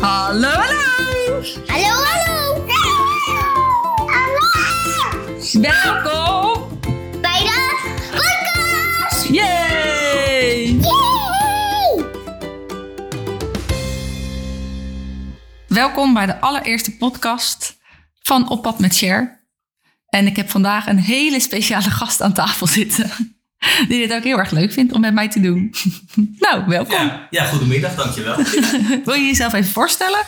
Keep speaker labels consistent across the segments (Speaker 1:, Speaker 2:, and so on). Speaker 1: Hallo, hallo!
Speaker 2: Hallo, hallo! Hallo!
Speaker 1: Welkom!
Speaker 2: Bij de podcast!
Speaker 1: Yay!
Speaker 2: Yay!
Speaker 1: Welkom bij de allereerste podcast van Op Pad met Cher. En ik heb vandaag een hele speciale gast aan tafel zitten. Die dit ook heel erg leuk vindt om met mij te doen. Nou, welkom.
Speaker 3: Ja, ja goedemiddag, dankjewel.
Speaker 1: Wil je jezelf even voorstellen?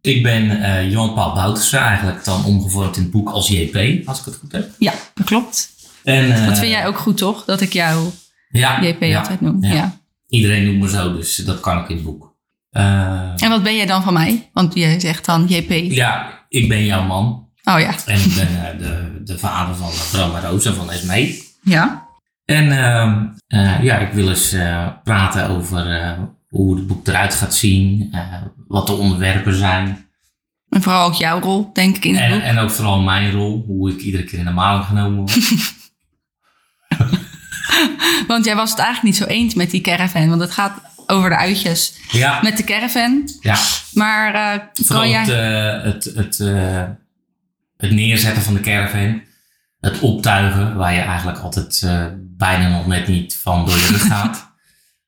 Speaker 3: ik ben eh Johan Paul Boutersen, eigenlijk dan omgevormd in het boek als JP, als ik het goed heb.
Speaker 1: Ja, dat klopt.
Speaker 3: En, eh,
Speaker 1: Dat vind jij ook goed, toch? Dat ik jou
Speaker 3: ja,
Speaker 1: JP
Speaker 3: ja,
Speaker 1: altijd noem.
Speaker 3: ja.
Speaker 1: Ja.
Speaker 3: Iedereen noemt me zo, dus dat kan ik in het boek. Eh,
Speaker 1: En wat ben jij dan van mij? Want jij zegt dan JP.
Speaker 3: ja, ik ben jouw man
Speaker 1: Oh ja.
Speaker 3: en ik ben eh, de, de vader van Brahma Rosa van Esmee.
Speaker 1: Ja.
Speaker 3: En ehm, eh, ja, ik wil eens eh, praten over eh, hoe het boek eruit gaat zien, eh, wat de onderwerpen zijn.
Speaker 1: En vooral ook jouw rol, denk ik, in het
Speaker 3: En,
Speaker 1: boek.
Speaker 3: en ook vooral mijn rol, hoe ik iedere keer in de maling genomen word.
Speaker 1: Want jij was het eigenlijk niet zo eens met die caravan. Want het gaat over de uitjes
Speaker 3: ja,
Speaker 1: met de caravan.
Speaker 3: ja.
Speaker 1: Maar eh
Speaker 3: Vooral
Speaker 1: kan jij...
Speaker 3: het, eh, het, het, eh, het neerzetten van de caravan. Het optuigen, waar je eigenlijk altijd eh, bijna nog net niet van door je rug gaat.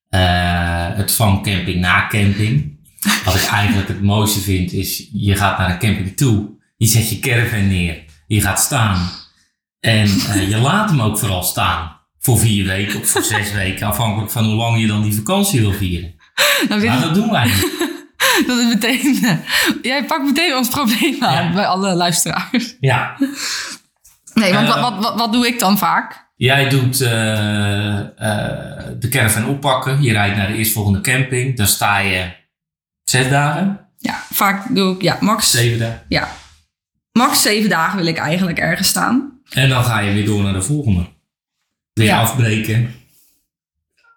Speaker 3: Eh, het van camping na camping. Wat ik eigenlijk het mooiste vind is, je gaat naar een camping toe. Je zet je caravan neer. Je gaat staan. En eh, je laat hem ook vooral staan. Voor vier weken of voor zes weken. Afhankelijk van hoe lang je dan die vakantie wil vieren.
Speaker 1: Nou, weet
Speaker 3: Maar
Speaker 1: ik
Speaker 3: dat doen wij niet.
Speaker 1: dat is meteen... eh, jij pakt meteen ons probleem aan
Speaker 3: Ja.
Speaker 1: bij alle luisteraars.
Speaker 3: Ja,
Speaker 1: Nee, want
Speaker 3: Eh.
Speaker 1: wat, wat, wat, wat doe ik dan vaak?
Speaker 3: Jij doet eh, eh, de caravan oppakken. Je rijdt naar de eerstvolgende camping. Dan sta je zes dagen,
Speaker 1: Ja, vaak doe ik... Ja, max...
Speaker 3: zeven dagen.
Speaker 1: Ja. Max zeven dagen wil ik eigenlijk ergens staan.
Speaker 3: En dan ga je weer door naar de volgende. Weer
Speaker 1: Ja.
Speaker 3: afbreken.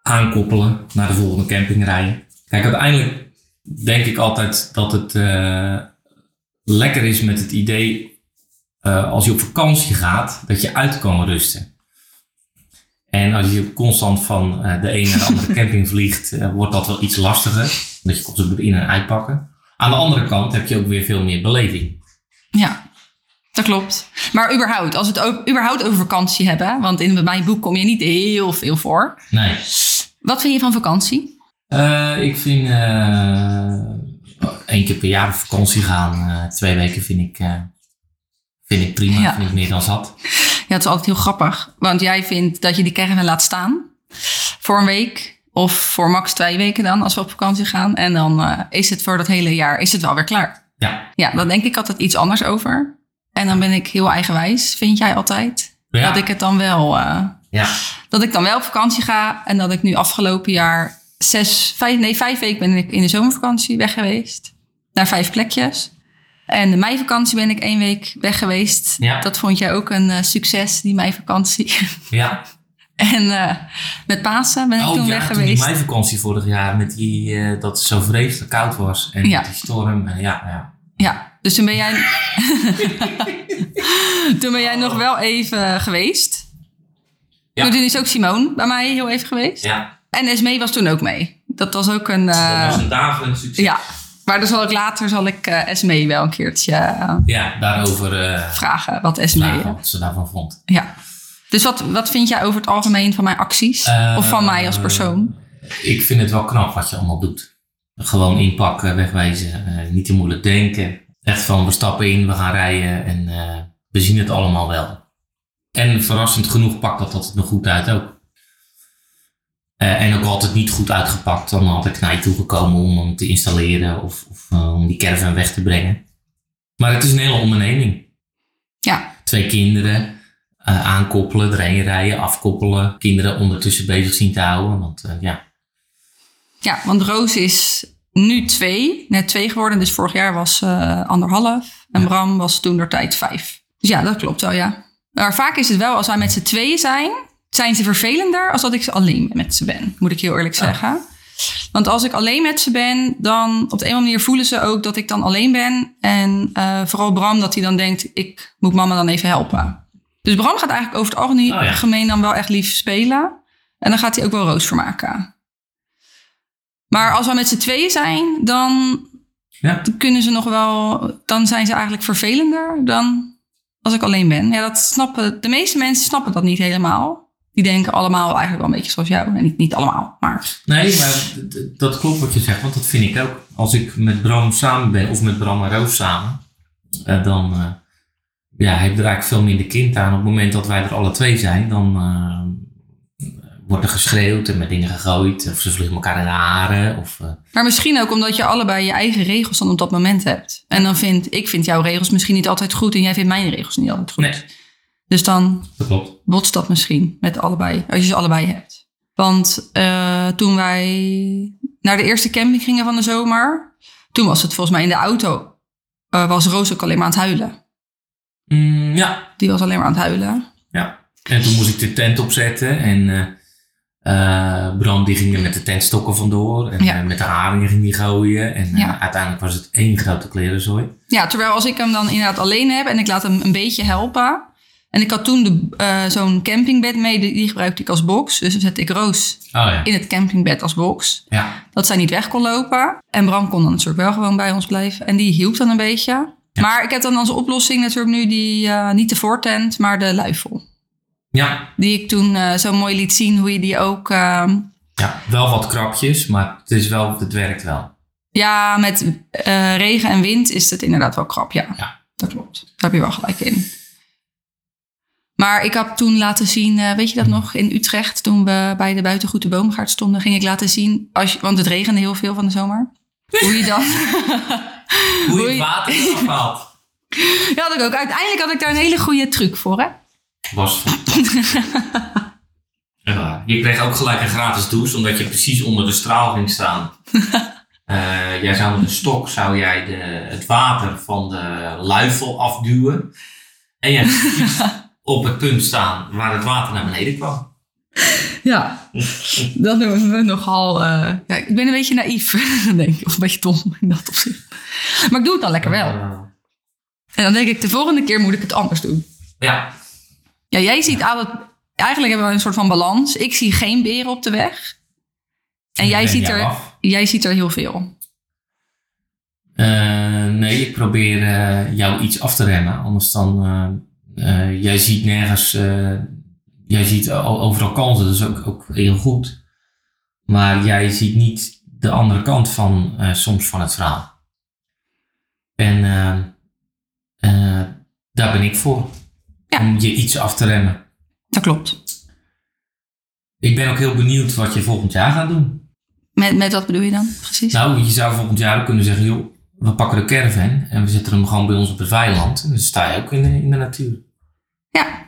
Speaker 3: Aankoppelen. Naar de volgende camping rijden. Kijk, uiteindelijk denk ik altijd dat het eh, lekker is met het idee... eh, als je op vakantie gaat, dat je uit kan rusten. En als je constant van eh, de ene naar de andere camping vliegt, eh, wordt dat wel iets lastiger. Omdat je constant moet in- en uitpakken. Aan de andere kant heb je ook weer veel meer beleving.
Speaker 1: Ja, dat klopt. Maar überhaupt, als we het ook, überhaupt over vakantie hebben... want in mijn boek kom je niet heel veel voor.
Speaker 3: Nee.
Speaker 1: Wat vind je van vakantie?
Speaker 3: Eh, ik vind eh, één keer per jaar op vakantie gaan, eh, twee weken vind ik, eh, vind ik prima,
Speaker 1: Ja.
Speaker 3: vind ik meer dan zat.
Speaker 1: Ja, het is altijd heel grappig. Want jij vindt dat je die caravan laat staan voor een week. Of voor max twee weken dan, als we op vakantie gaan. En dan eh, is het voor dat hele jaar is het wel weer klaar.
Speaker 3: Ja,
Speaker 1: Ja, dan denk ik altijd iets anders over. En dan ben ik heel eigenwijs, vind jij altijd.
Speaker 3: Ja.
Speaker 1: Dat ik het dan wel... eh,
Speaker 3: ja,
Speaker 1: dat ik dan wel op vakantie ga. En dat ik nu afgelopen jaar zes, vijf, nee, vijf weken ben ik in de zomervakantie weg geweest. Naar vijf plekjes. En de meivakantie ben ik één week weg geweest.
Speaker 3: Ja.
Speaker 1: Dat vond jij ook een eh, succes, die meivakantie.
Speaker 3: ja.
Speaker 1: en eh, met Pasen ben ik toen
Speaker 3: oh ja,
Speaker 1: weg
Speaker 3: toen
Speaker 1: geweest.
Speaker 3: mijn vakantie vorig jaar, met die, eh, dat het zo vreselijk koud was en
Speaker 1: Ja.
Speaker 3: die storm. En ja, ja.
Speaker 1: Ja, dus toen ben jij. toen ben jij nog wel even geweest.
Speaker 3: Ja.
Speaker 1: Toen is ook Simone bij mij heel even geweest.
Speaker 3: ja.
Speaker 1: En Esmee was toen ook mee. Dat was ook een. eh,
Speaker 3: dat was een daverend succes.
Speaker 1: Ja, maar dan zal ik later zal ik eh SME wel een keertje eh,
Speaker 3: Ja, daarover eh
Speaker 1: vragen wat SME.
Speaker 3: vragen wat ze daarvan vond.
Speaker 1: Ja. Dus wat, wat vind jij over het algemeen van mijn acties?
Speaker 3: Eh,
Speaker 1: of van mij als persoon?
Speaker 3: Ik vind het wel knap wat je allemaal doet. Gewoon inpakken, wegwijzen, eh, niet te moeilijk denken. Echt van we stappen in, we gaan rijden en eh, we zien het allemaal wel. En verrassend genoeg pakt dat altijd nog goed uit ook. Eh, en ook altijd niet goed uitgepakt, dan had ik naar je toe gekomen om hem te installeren of, of eh, om die caravan weg te brengen. Maar het is een hele onderneming.
Speaker 1: Ja.
Speaker 3: Twee kinderen, eh, aankoppelen, erheen rijden, afkoppelen. Kinderen ondertussen bezig zien te houden. Want eh, ja,
Speaker 1: ja, want Roos is nu twee, net twee geworden. Dus vorig jaar was eh, anderhalf. En
Speaker 3: Ja.
Speaker 1: Bram was toen door tijd vijf. Dus ja, dat klopt wel, ja. Maar vaak is het wel, als wij met z'n tweeën zijn, zijn ze vervelender als dat ik ze alleen met ze ben. Moet ik heel
Speaker 3: Oh.
Speaker 1: eerlijk zeggen. Want als ik alleen met ze ben, dan op de een of andere manier voelen ze ook dat ik dan alleen ben. En eh, vooral Bram, dat hij dan denkt, ik moet mama dan even helpen. Dus Bram gaat eigenlijk over het algemeen
Speaker 3: Oh ja.
Speaker 1: gemeen dan wel echt lief spelen. En dan gaat hij ook wel roos vermaken. Maar als we met z'n tweeën zijn, dan
Speaker 3: Ja.
Speaker 1: Dan kunnen ze nog wel, dan zijn ze eigenlijk vervelender dan als ik alleen ben. Ja, dat snappen, de meeste mensen snappen dat niet helemaal. Die denken allemaal eigenlijk wel een beetje zoals jou. En niet, niet allemaal, maar
Speaker 3: Nee, maar d- d- dat klopt wat je zegt, want dat vind ik ook. Als ik met Bram samen ben, of met Bram en Roos samen, eh, dan eh, ja, heeft er eigenlijk veel minder kind aan. Op het moment dat wij er alle twee zijn, dan eh, wordt er geschreeuwd en met dingen gegooid. Of ze vliegen elkaar in de haren. Of, eh,
Speaker 1: Maar misschien ook omdat je allebei je eigen regels dan op dat moment hebt. En dan vind ik vind jouw regels misschien niet altijd goed en jij vindt mijn regels niet altijd goed.
Speaker 3: Nee.
Speaker 1: Dus dan
Speaker 3: dat klopt.
Speaker 1: botst dat misschien met allebei, als je ze allebei hebt. Want eh, toen wij naar de eerste camping gingen van de zomer, toen was het volgens mij in de auto, eh, was Roos ook alleen maar aan het huilen.
Speaker 3: Mm, ja.
Speaker 1: Die was alleen maar aan het huilen.
Speaker 3: ja. En toen moest ik de tent opzetten en eh, eh, Bram die ging er met de tentstokken vandoor. En
Speaker 1: Ja.
Speaker 3: eh, met de haringen ging die gooien. En eh,
Speaker 1: Ja.
Speaker 3: uiteindelijk was het één grote klerenzooi.
Speaker 1: Ja, terwijl als ik hem dan inderdaad alleen heb en ik laat hem een beetje helpen. En ik had toen de, eh, zo'n campingbed mee, die, die gebruikte ik als box. Dus dan zette ik Roos
Speaker 3: Oh ja.
Speaker 1: in het campingbed als box.
Speaker 3: Ja,
Speaker 1: Dat zij niet weg kon lopen. En Bram kon dan natuurlijk wel gewoon bij ons blijven. En die hielp dan een beetje. Maar ik heb dan als oplossing natuurlijk nu die, eh, niet de voortent, maar de luifel.
Speaker 3: ja.
Speaker 1: Die ik toen eh, zo mooi liet zien hoe je die ook... ehm,
Speaker 3: ja. wel wat krapjes, maar het, is wel, het werkt wel.
Speaker 1: ja, met eh, regen en wind is het inderdaad wel krap, ja.
Speaker 3: Ja.
Speaker 1: Dat klopt. Daar heb je wel gelijk in. Maar ik had toen laten zien, eh, weet je dat nog, in Utrecht, toen we bij de buitengoede boomgaard stonden, ging ik laten zien, als je, want het regende heel veel van de zomer, hoe je dan...
Speaker 3: Hoe
Speaker 1: Hoe
Speaker 3: je het
Speaker 1: je-
Speaker 3: water eraf haalt.
Speaker 1: Ja, had ik ook. Uiteindelijk had ik daar een hele goede truc voor, hè?
Speaker 3: Was fantastisch. ja, je kreeg ook gelijk een gratis douche, omdat je precies onder de straal ging staan. Eh, jij zou met een stok zou jij de, het water van de luifel afduwen. En jij ging precies op het punt staan waar het water naar beneden kwam.
Speaker 1: Ja. Dat doen we nogal... eh, ja, ik ben een beetje naïef, denk ik. Of een beetje dom in dat opzicht. Maar ik doe het dan lekker wel.
Speaker 3: Eh,
Speaker 1: En dan denk ik, de volgende keer moet ik het anders doen.
Speaker 3: ja,
Speaker 1: Ja, jij ziet aan dat... Eigenlijk hebben we een soort van balans. Ik zie geen beren op de weg. En
Speaker 3: Ik
Speaker 1: jij
Speaker 3: ben
Speaker 1: ziet,
Speaker 3: jou
Speaker 1: er,
Speaker 3: af.
Speaker 1: jij ziet er heel veel.
Speaker 3: Eh, nee, ik probeer eh, jou iets af te remmen. Anders dan, eh, eh, jij ziet nergens, eh, jij ziet o- overal kansen. Dat is ook, ook heel goed. Maar jij ziet niet de andere kant van, eh, soms van het verhaal. En eh, eh, daar ben ik voor.
Speaker 1: Ja.
Speaker 3: Om je iets af te remmen.
Speaker 1: Dat klopt.
Speaker 3: Ik ben ook heel benieuwd wat je volgend jaar gaat doen.
Speaker 1: Met, met wat bedoel je dan precies?
Speaker 3: Nou, je zou volgend jaar ook kunnen zeggen, joh, we pakken de caravan en we zetten hem gewoon bij ons op het weiland. En dan sta je ook in de, in de natuur.
Speaker 1: Ja.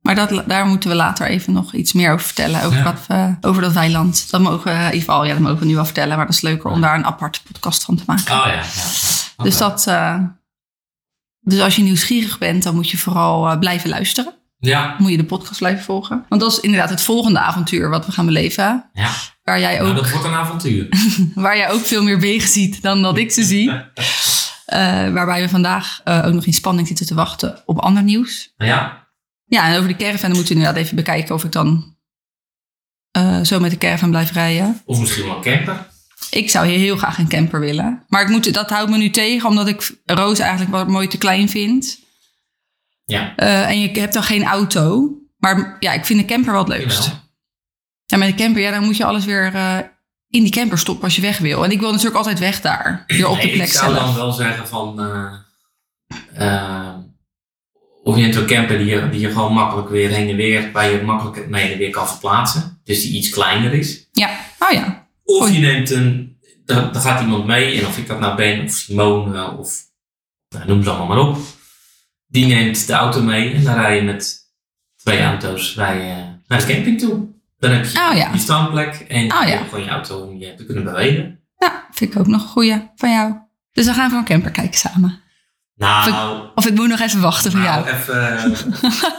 Speaker 1: Maar dat, daar moeten we later even nog iets meer over vertellen. Over,
Speaker 3: Ja.
Speaker 1: wat we, over dat weiland. Dat mogen we, in ieder geval, ja, dat mogen we nu wel vertellen. Maar dat is leuker om daar een aparte podcast van te maken.
Speaker 3: Oh ja. ja. Oké.
Speaker 1: Ah, Dus dat... eh, dus als je nieuwsgierig bent, dan moet je vooral eh, blijven luisteren.
Speaker 3: Ja,
Speaker 1: Moet je de podcast blijven volgen. Want dat is inderdaad het volgende avontuur wat we gaan beleven.
Speaker 3: ja.
Speaker 1: Waar jij
Speaker 3: Nou,
Speaker 1: ook
Speaker 3: dat wordt een avontuur.
Speaker 1: waar jij ook veel meer wegen ziet dan dat ik ze zie. Eh, waarbij we vandaag eh, ook nog in spanning zitten te wachten op ander nieuws.
Speaker 3: ja,
Speaker 1: Ja, en over de caravan moeten we inderdaad even bekijken of ik dan eh, zo met de caravan blijf rijden.
Speaker 3: of misschien wel een camper.
Speaker 1: Ik zou hier heel graag een camper willen. Maar ik moet, dat houdt me nu tegen, omdat ik Roos eigenlijk wat mooi te klein vind.
Speaker 3: Ja,
Speaker 1: Eh, en je hebt dan geen auto. Maar ja, ik vind de camper wel het leukst.
Speaker 3: Jawel.
Speaker 1: Ja, met de camper, ja, dan moet je alles weer eh, in die camper stoppen als je weg wil. En ik wil natuurlijk altijd weg daar. Weer op
Speaker 3: Nee,
Speaker 1: de plek
Speaker 3: ik zou
Speaker 1: zelf.
Speaker 3: dan wel zeggen van... eh, eh, of je hebt een camper die je, die je gewoon makkelijk weer heen en weer... waar je makkelijk mee heen en weer kan verplaatsen. Dus die iets kleiner is.
Speaker 1: Ja, oh ja.
Speaker 3: Of
Speaker 1: Oei.
Speaker 3: je neemt een, dan, dan gaat iemand mee, en of ik dat nou ben, of Simone, eh, of nou, noem ze allemaal maar op. Die neemt de auto mee en dan rij je met twee auto's rij je naar de camping toe. Dan heb je
Speaker 1: Oh ja. Oh
Speaker 3: je standplek en
Speaker 1: ja.
Speaker 3: je hebt gewoon je auto om je te kunnen bewegen.
Speaker 1: Ja, vind ik ook nog een goeie van jou. Dus dan gaan we een camper kijken samen.
Speaker 3: Nou,
Speaker 1: Of ik moet nog even wachten van
Speaker 3: nou
Speaker 1: jou.
Speaker 3: even...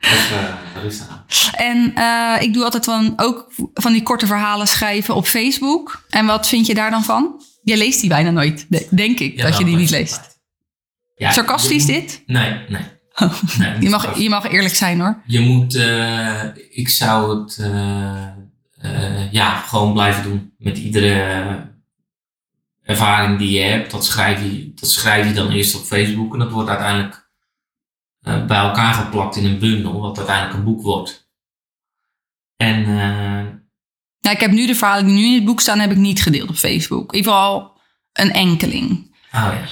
Speaker 3: even rustig aan.
Speaker 1: En eh, ik doe altijd van, ook van die korte verhalen schrijven op Facebook. En wat vind je daar dan van? Je leest die bijna nooit, de- denk ik, dat je die niet leest.
Speaker 3: Ja,
Speaker 1: Sarcastisch
Speaker 3: je moet-
Speaker 1: dit?
Speaker 3: Nee, nee. nee
Speaker 1: Je mag, je mag eerlijk zijn hoor.
Speaker 3: Je moet, eh, ik zou het eh, eh, ja, gewoon blijven doen. Met iedere ervaring die je hebt, dat schrijf je, dat schrijf je dan eerst op Facebook. En dat wordt uiteindelijk eh, bij elkaar geplakt in een bundel, wat uiteindelijk een boek wordt. En eh,
Speaker 1: Nou, ik heb nu de verhalen die nu in het boek staan, heb ik niet gedeeld op Facebook. In ieder geval een enkeling.
Speaker 3: oh ja,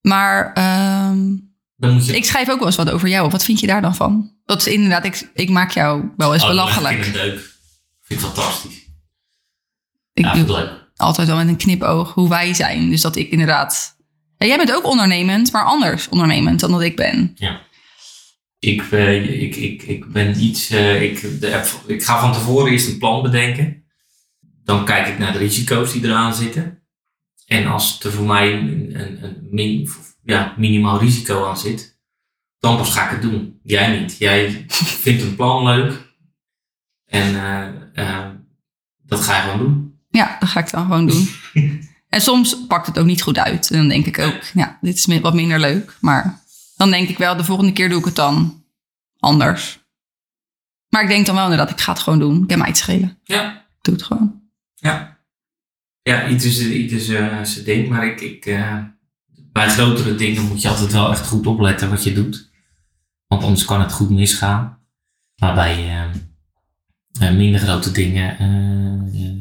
Speaker 1: Maar ehm,
Speaker 3: dan moet je...
Speaker 1: ik schrijf ook wel eens wat over jou. op. Wat vind je daar dan van? Dat is inderdaad, ik, ik maak jou wel eens
Speaker 3: Oh, dan leg ik
Speaker 1: belachelijk.
Speaker 3: in een deuk. Vind ik fantastisch.
Speaker 1: Ik
Speaker 3: ja, vind
Speaker 1: doe
Speaker 3: ik leuk.
Speaker 1: altijd wel met een knipoog hoe wij zijn. Dus dat ik inderdaad... Ja, jij bent ook ondernemend, maar anders ondernemend dan dat ik ben.
Speaker 3: Ik, eh, ik, ik, ik ben iets... eh, ik, de app- ik ga van tevoren eerst een plan bedenken. Dan kijk ik naar de risico's die eraan zitten. En als er voor mij een, een, een min- ja, minimaal risico aan zit, dan pas ga ik het doen. Jij niet. Jij vindt een plan leuk. En eh, eh, dat ga je gewoon doen.
Speaker 1: Ja, dat ga ik dan gewoon doen. en soms pakt het ook niet goed uit. En dan denk ik ook, ja, dit is mi- wat minder leuk. Maar dan denk ik wel, de volgende keer doe ik het dan anders. Maar ik denk dan wel inderdaad, ik ga het gewoon doen. Ik heb mij het schelen.
Speaker 3: Ja,
Speaker 1: Ik doe het gewoon.
Speaker 3: Ja. Ja, iets is, iets is eh, zijn ding, maar ik, ik, eh, bij grotere dingen moet je altijd wel echt goed opletten wat je doet. Want anders kan het goed misgaan. Maar bij eh, eh, minder grote dingen eh, eh,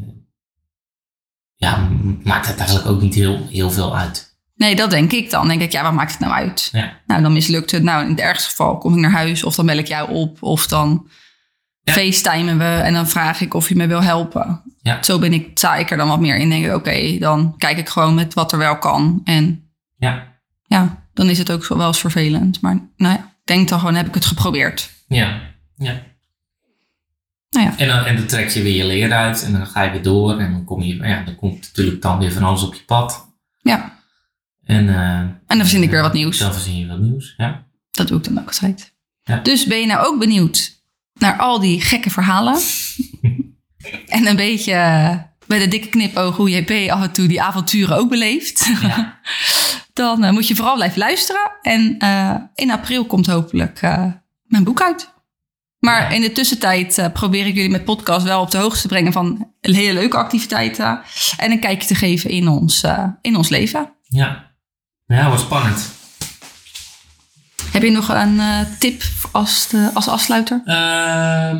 Speaker 3: ja, m- maakt het eigenlijk ook niet heel, heel veel uit.
Speaker 1: Nee, dat denk ik dan. Denk ik, ja, wat maakt het nou uit?
Speaker 3: Ja.
Speaker 1: Nou, dan mislukt het. Nou, in het ergste geval kom ik naar huis of dan bel ik jou op. Of dan
Speaker 3: Ja.
Speaker 1: facetimen we en dan vraag ik of je me wil helpen.
Speaker 3: Ja.
Speaker 1: Zo ben ik, sta ik er dan wat meer in. Denk ik, oké, dan kijk ik gewoon met wat er wel kan. En
Speaker 3: Ja,
Speaker 1: ja, dan is het ook wel eens vervelend. Maar nou ja, ik denk dan gewoon heb ik het geprobeerd.
Speaker 3: ja, ja.
Speaker 1: Nou ja.
Speaker 3: En dan, en dan trek je weer je leer uit en dan ga je weer door. En dan, kom je, ja, dan komt natuurlijk dan weer van alles op je pad.
Speaker 1: Ja,
Speaker 3: En, eh,
Speaker 1: dan verzin ik weer wat nieuws.
Speaker 3: Dan verzin je wat nieuws, ja.
Speaker 1: dat doe ik dan ook altijd.
Speaker 3: Ja.
Speaker 1: Dus ben je nou ook benieuwd naar al die gekke verhalen? en een beetje eh, met een dikke knipoog hoe JP af en toe die avonturen ook beleeft.
Speaker 3: Ja.
Speaker 1: dan eh, moet je vooral blijven luisteren. En eh, in april komt hopelijk eh, mijn boek uit. Maar
Speaker 3: Ja.
Speaker 1: in de tussentijd eh, probeer ik jullie met podcast wel op de hoogte te brengen van hele leuke activiteiten. En een kijkje te geven in ons, eh, in ons leven.
Speaker 3: Ja, ja wat spannend.
Speaker 1: Heb je nog een eh, tip als, de- als afsluiter?
Speaker 3: Ehm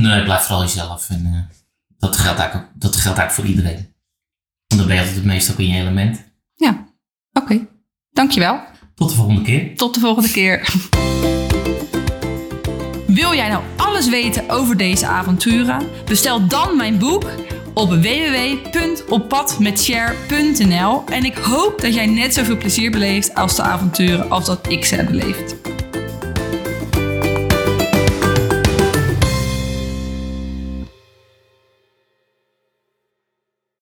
Speaker 3: nee, blijf vooral jezelf. En, eh, dat, geldt eigenlijk, ook- dat geldt eigenlijk voor iedereen. Want dan ben je altijd het meest ook in je element.
Speaker 1: Ja, oké. Dankjewel.
Speaker 3: Tot de volgende keer.
Speaker 1: Tot de volgende keer. Wil jij nou alles weten over deze avonturen? Bestel dan mijn boek op www.oppadmetshare.nl en ik hoop dat jij net zoveel plezier beleeft als de avonturen als dat ik ze heb beleefd.